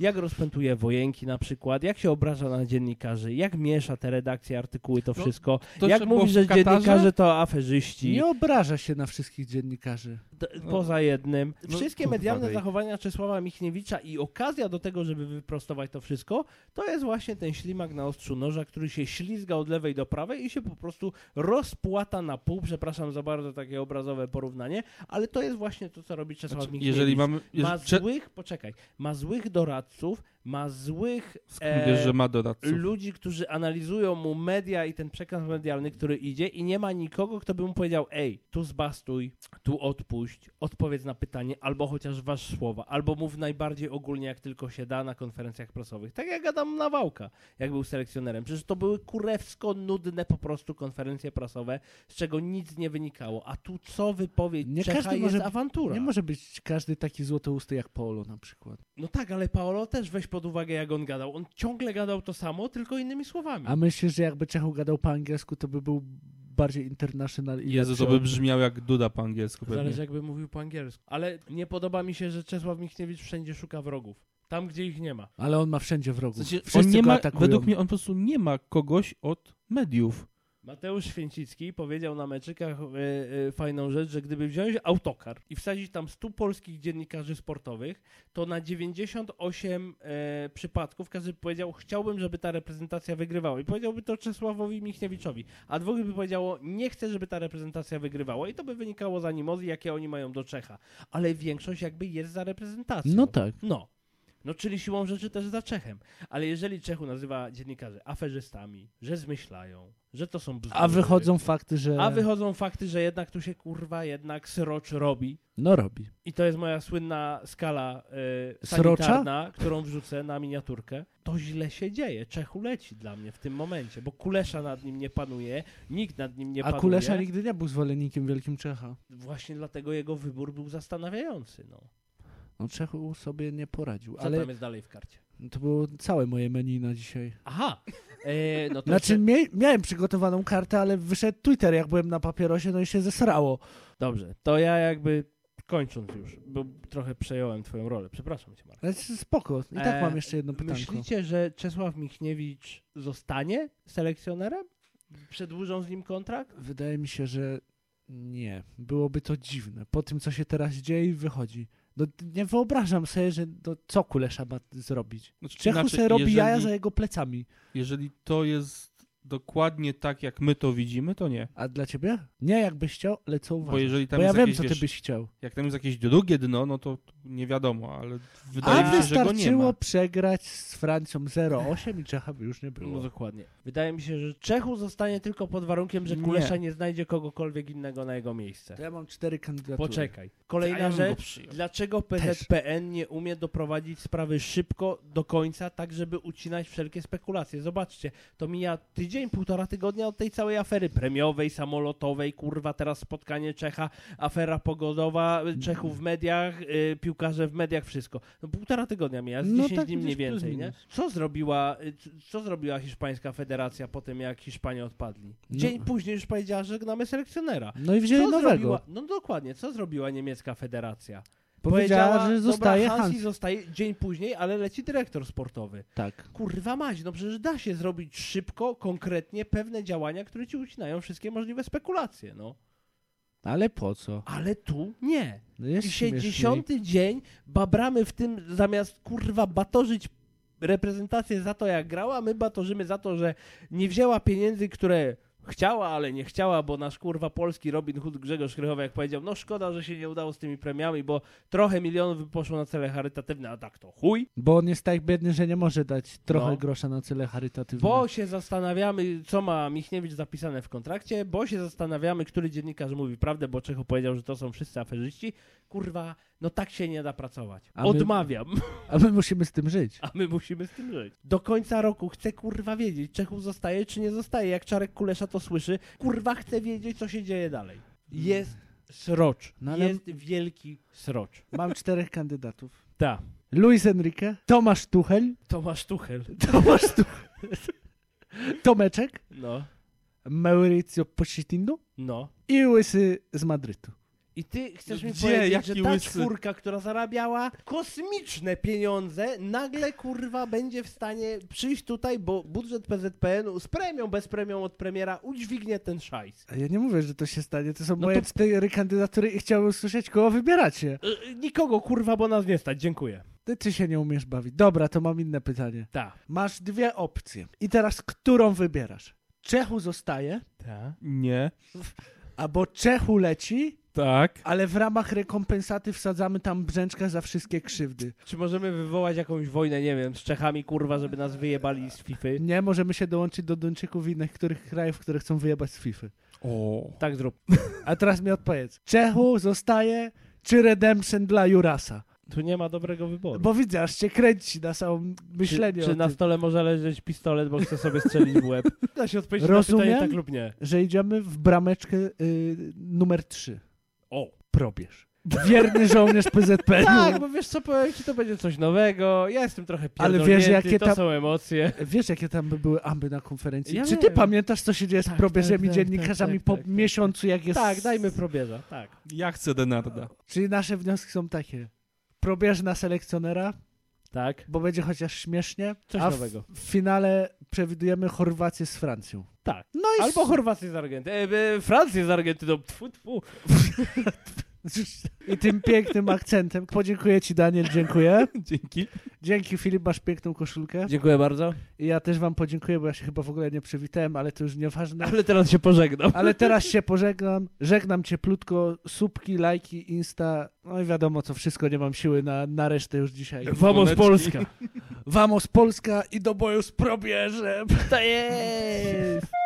jak rozpętuje wojenki na przykład, jak się obraża na dziennikarzy, jak miesza te redakcje, artykuły, to No, wszystko. to jak czy było mówi, w że Katarze? dziennikarze to aferzyści, Nie obraża się na wszystkich dziennikarzy. d- no. poza jednym. No, Wszystkie kurwa, medialne wej. zachowania Czesława Michniewicza i okazja do tego, żeby wyprostować to wszystko, to jest właśnie ten ślimak na ostrzu noża, który się ślizga od lewej do prawej i się po prostu rozpłata na pół. Przepraszam za bardzo takie obrazowe porównanie, ale to jest właśnie to, co robi Czesław Znaczy, Michniewicz. jeżeli mamy... Ma Jeżeli, cze- złych, poczekaj, ma złych doradców, ma złych e, skąd wiesz, że ma doradców? ludzi, którzy analizują mu media i ten przekaz medialny, który idzie i nie ma nikogo, kto by mu powiedział, ej, tu zbastuj, tu odpuść, odpowiedz na pytanie, albo chociaż wasz słowa, albo mów najbardziej ogólnie, jak tylko się da na konferencjach prasowych. Tak jak Adam Nawałka, jak był selekcjonerem. Przecież to były kurewsko nudne po prostu konferencje prasowe, z czego nic nie wynikało. A tu co wypowiedź Nie Czecha każdy jest może- awantura. Nie może być każdy taki złotousty jak Paolo na przykład. No tak, ale Paolo też weź pod uwagę, jak on gadał. On ciągle gadał to samo, tylko innymi słowami. A myślisz, że jakby Czechu gadał po angielsku, to by był bardziej international i Jezu, lepszy to by od- brzmiał jak Duda po angielsku pewnie. Zależy, jakby mówił po angielsku. Ale nie podoba mi się, że Czesław Michniewicz wszędzie szuka wrogów. Tam, gdzie ich nie ma. Ale on ma wszędzie W wrogów. sensie, Wszyscy on nie go ma, atakują. według mnie on po prostu nie ma kogoś od mediów. Mateusz Święcicki powiedział na meczykach e, e, fajną rzecz, że gdyby wziąć autokar i wsadzić tam 100 polskich dziennikarzy sportowych, to na 98 e, przypadków każdy by powiedział, chciałbym, żeby ta reprezentacja wygrywała. I powiedziałby to Czesławowi Michniewiczowi. A dwóch by powiedziało, nie chcę, żeby ta reprezentacja wygrywała. I to by wynikało z animozji, jakie oni mają do Czecha. Ale większość jakby jest za reprezentacją. No tak. No. No, czyli siłą rzeczy też za Czechem. Ale jeżeli Czechu nazywa dziennikarzy aferzystami, że zmyślają, że to są bzdury, A wychodzą fakty, że... a wychodzą fakty, że jednak tu się kurwa jednak srocz robi. No robi. I to jest moja słynna skala y, Srocza? sanitarna, którą wrzucę na miniaturkę. To źle się dzieje. Czechu leci dla mnie w tym momencie, bo Kulesza nad nim nie panuje, nikt nad nim nie A panuje. Kulesza nigdy nie był zwolennikiem Wielkim Czecha. Właśnie dlatego jego wybór był zastanawiający. No. No Czechu sobie nie poradził, Co ale tam No jest dalej w karcie? to było całe moje menu na dzisiaj. Aha! E, no to Znaczy mie- miałem przygotowaną kartę, ale wyszedł Twitter jak byłem na papierosie, no i się zesrało. Dobrze, to ja jakby kończąc już, bo trochę przejąłem twoją rolę. Przepraszam cię, Marek. Znaczy spoko, i tak E, mam jeszcze jedno pytanko. Myślicie, że Czesław Michniewicz zostanie selekcjonerem? Przedłużą z nim kontrakt? Wydaje mi się, że nie. Byłoby to dziwne. Po tym, co się teraz dzieje i wychodzi. No, nie wyobrażam sobie, że no, co Kulesza ma zrobić. Znaczy, Czechu inaczej, se robi jeżeli, jaja za jego plecami. Jeżeli to jest dokładnie tak, jak my to widzimy, to nie. A dla ciebie? Nie jakbyś chciał, ale co Bo uważasz? jeżeli Bo, tam ja jest wiem, jakieś, co ty wiesz, byś chciał. jak tam jest jakieś drugie dno, no to nie wiadomo, ale wydaje A mi się, że go nie ma. No wystarczyło przegrać z Francją 0-8 i Czecha by już nie No było. dokładnie. Wydaje mi się, że Czechu zostanie tylko pod warunkiem, że Nie. Kulesza nie, znajdzie kogokolwiek innego na jego miejsce. To ja mam cztery kandydatury. Poczekaj. A ja Kolejna bym go rzecz. przyjął. Dlaczego PZPN nie umie doprowadzić sprawy szybko do końca, tak żeby ucinać wszelkie spekulacje? Zobaczcie, to mija tydzień, półtora tygodnia od tej całej afery premiowej, samolotowej, kurwa, teraz spotkanie Czecha, afera pogodowa, Czechów w mediach, y, piłkarze w mediach, wszystko. No półtora tygodnia mija, z No 10 tak, dni mniej gdzieś plus więcej, nie? minus. Co zrobiła, y, c- co zrobiła hiszpańska federacja po tym, jak Hiszpanie odpadli? Dzień No. później już powiedziała, że żegnamy selekcjonera. No i wzięli Co nowego. zrobiła? No dokładnie, co zrobiła niemiecka federacja? Powiedziała, że zostaje dobra, Hans. Hansi zostaje dzień później, ale leci dyrektor sportowy. Tak. Kurwa mać, no przecież da się zrobić szybko, konkretnie pewne działania, które ci ucinają wszystkie możliwe spekulacje, no. Ale po co? Ale tu nie. No jest I się śmieszniej. dziesiąty dzień babramy w tym, zamiast kurwa batorzyć reprezentację za to, jak grała, my batorzymy za to, że nie wzięła pieniędzy, które chciała, ale nie chciała, bo nasz kurwa polski Robin Hood Grzegorz Krychowy, jak powiedział, no szkoda, że się nie udało z tymi premiami, bo trochę milionów by poszło na cele charytatywne, a tak to chuj. Bo on jest tak biedny, że nie może dać trochę No. grosza na cele charytatywne. Bo się zastanawiamy, co ma Michniewicz zapisane w kontrakcie, bo się zastanawiamy, który dziennikarz mówi prawdę, bo Czechu powiedział, że to są wszyscy aferzyści. Kurwa, No tak się nie da pracować. A my- Odmawiam. A my musimy z tym żyć. A my musimy z tym żyć. Do końca roku chcę kurwa wiedzieć, Czechów zostaje czy nie zostaje. Jak Czarek Kulesza to słyszy, kurwa chcę wiedzieć, co się dzieje dalej. Jest srocz. No ale- Jest wielki srocz. Mam czterech kandydatów. Ta. Luis Enrique, Tomasz Tuchel, Tomasz Tuchel. Tomasz Tuchel, Tomeczek, No. Mauricio Pochettino No. i Łysy z Madrytu. I ty chcesz mi Gdzie? powiedzieć, Jaki że ta łysy? czwórka, która zarabiała kosmiczne pieniądze, nagle kurwa będzie w stanie przyjść tutaj, bo budżet PZPN-u z premią, bez premią od premiera udźwignie ten szajs. A ja nie mówię, że to się stanie. To są No moje to- cztery kandydatury i chciałbym usłyszeć, kogo wybieracie. Y, Nikogo kurwa, bo nas nie stać, dziękuję. Ty, ty się nie umiesz bawić. Dobra, to mam inne pytanie. Ta. Masz dwie opcje. I teraz którą wybierasz? Czechu zostaje, Ta. Nie. albo Czechu leci, Tak. ale w ramach rekompensaty wsadzamy tam brzęczka za wszystkie krzywdy. Czy możemy wywołać jakąś wojnę, nie wiem, z Czechami, kurwa, żeby nas wyjebali z FIFA? Nie, możemy się dołączyć do Duńczyków i innych których krajów, które chcą wyjebać z FIFA. O. Tak zrób. A teraz mi odpowiedz. Czechu zostaje, czy Redemption dla Jurasa? Tu nie ma dobrego wyboru. Bo widzę, aż cię kręci na samą myślenie czy, o czy na tym, stole może leżeć pistolet, bo chce sobie strzelić w łeb? Da się odpowiedzieć na Rozumiem. pytanie na pytanie tak tak lub nie. że idziemy w brameczkę y, numer 3. O. Probierz. Wierny żołnierz PZPN. Tak, bo wiesz co, powiem ci, to będzie coś nowego, ja jestem trochę Ale wiesz, pierdolnięty, Ale wiesz, jakie jakie to tam- są emocje. Wiesz, jakie tam by były amby na konferencji? Ja Czy ty wiem. pamiętasz, co się dzieje z Tak, probierzem tak, i tak, dziennikarzami tak, tak, po tak, tak. miesiącu, jak jest... Tak, dajmy probierza, tak. Ja chcę Denarda. Czyli nasze wnioski są takie. Probierz na selekcjonera, Tak, bo będzie chociaż śmiesznie. Coś a w- nowego. W finale przewidujemy Chorwację z Francją. tak. No i Albo Chorwację z Argentyną, e, e, Francję z Argentyną, tfu, tfu. I tym pięknym akcentem. Podziękuję ci, Daniel, dziękuję. Dzięki. Dzięki, Filip, masz piękną koszulkę. Dziękuję bardzo. I ja też wam podziękuję, bo ja się chyba w ogóle nie przywitałem, ale to już nieważne. Ale teraz się pożegnam. Ale teraz się pożegnam. Żegnam cieplutko. Subki, lajki, insta. No i wiadomo co, wszystko. Nie mam siły na, na resztę już dzisiaj. Vamos Dzwoneczki. Polska. Vamos Polska i do boju z probierzem. To Tak jest!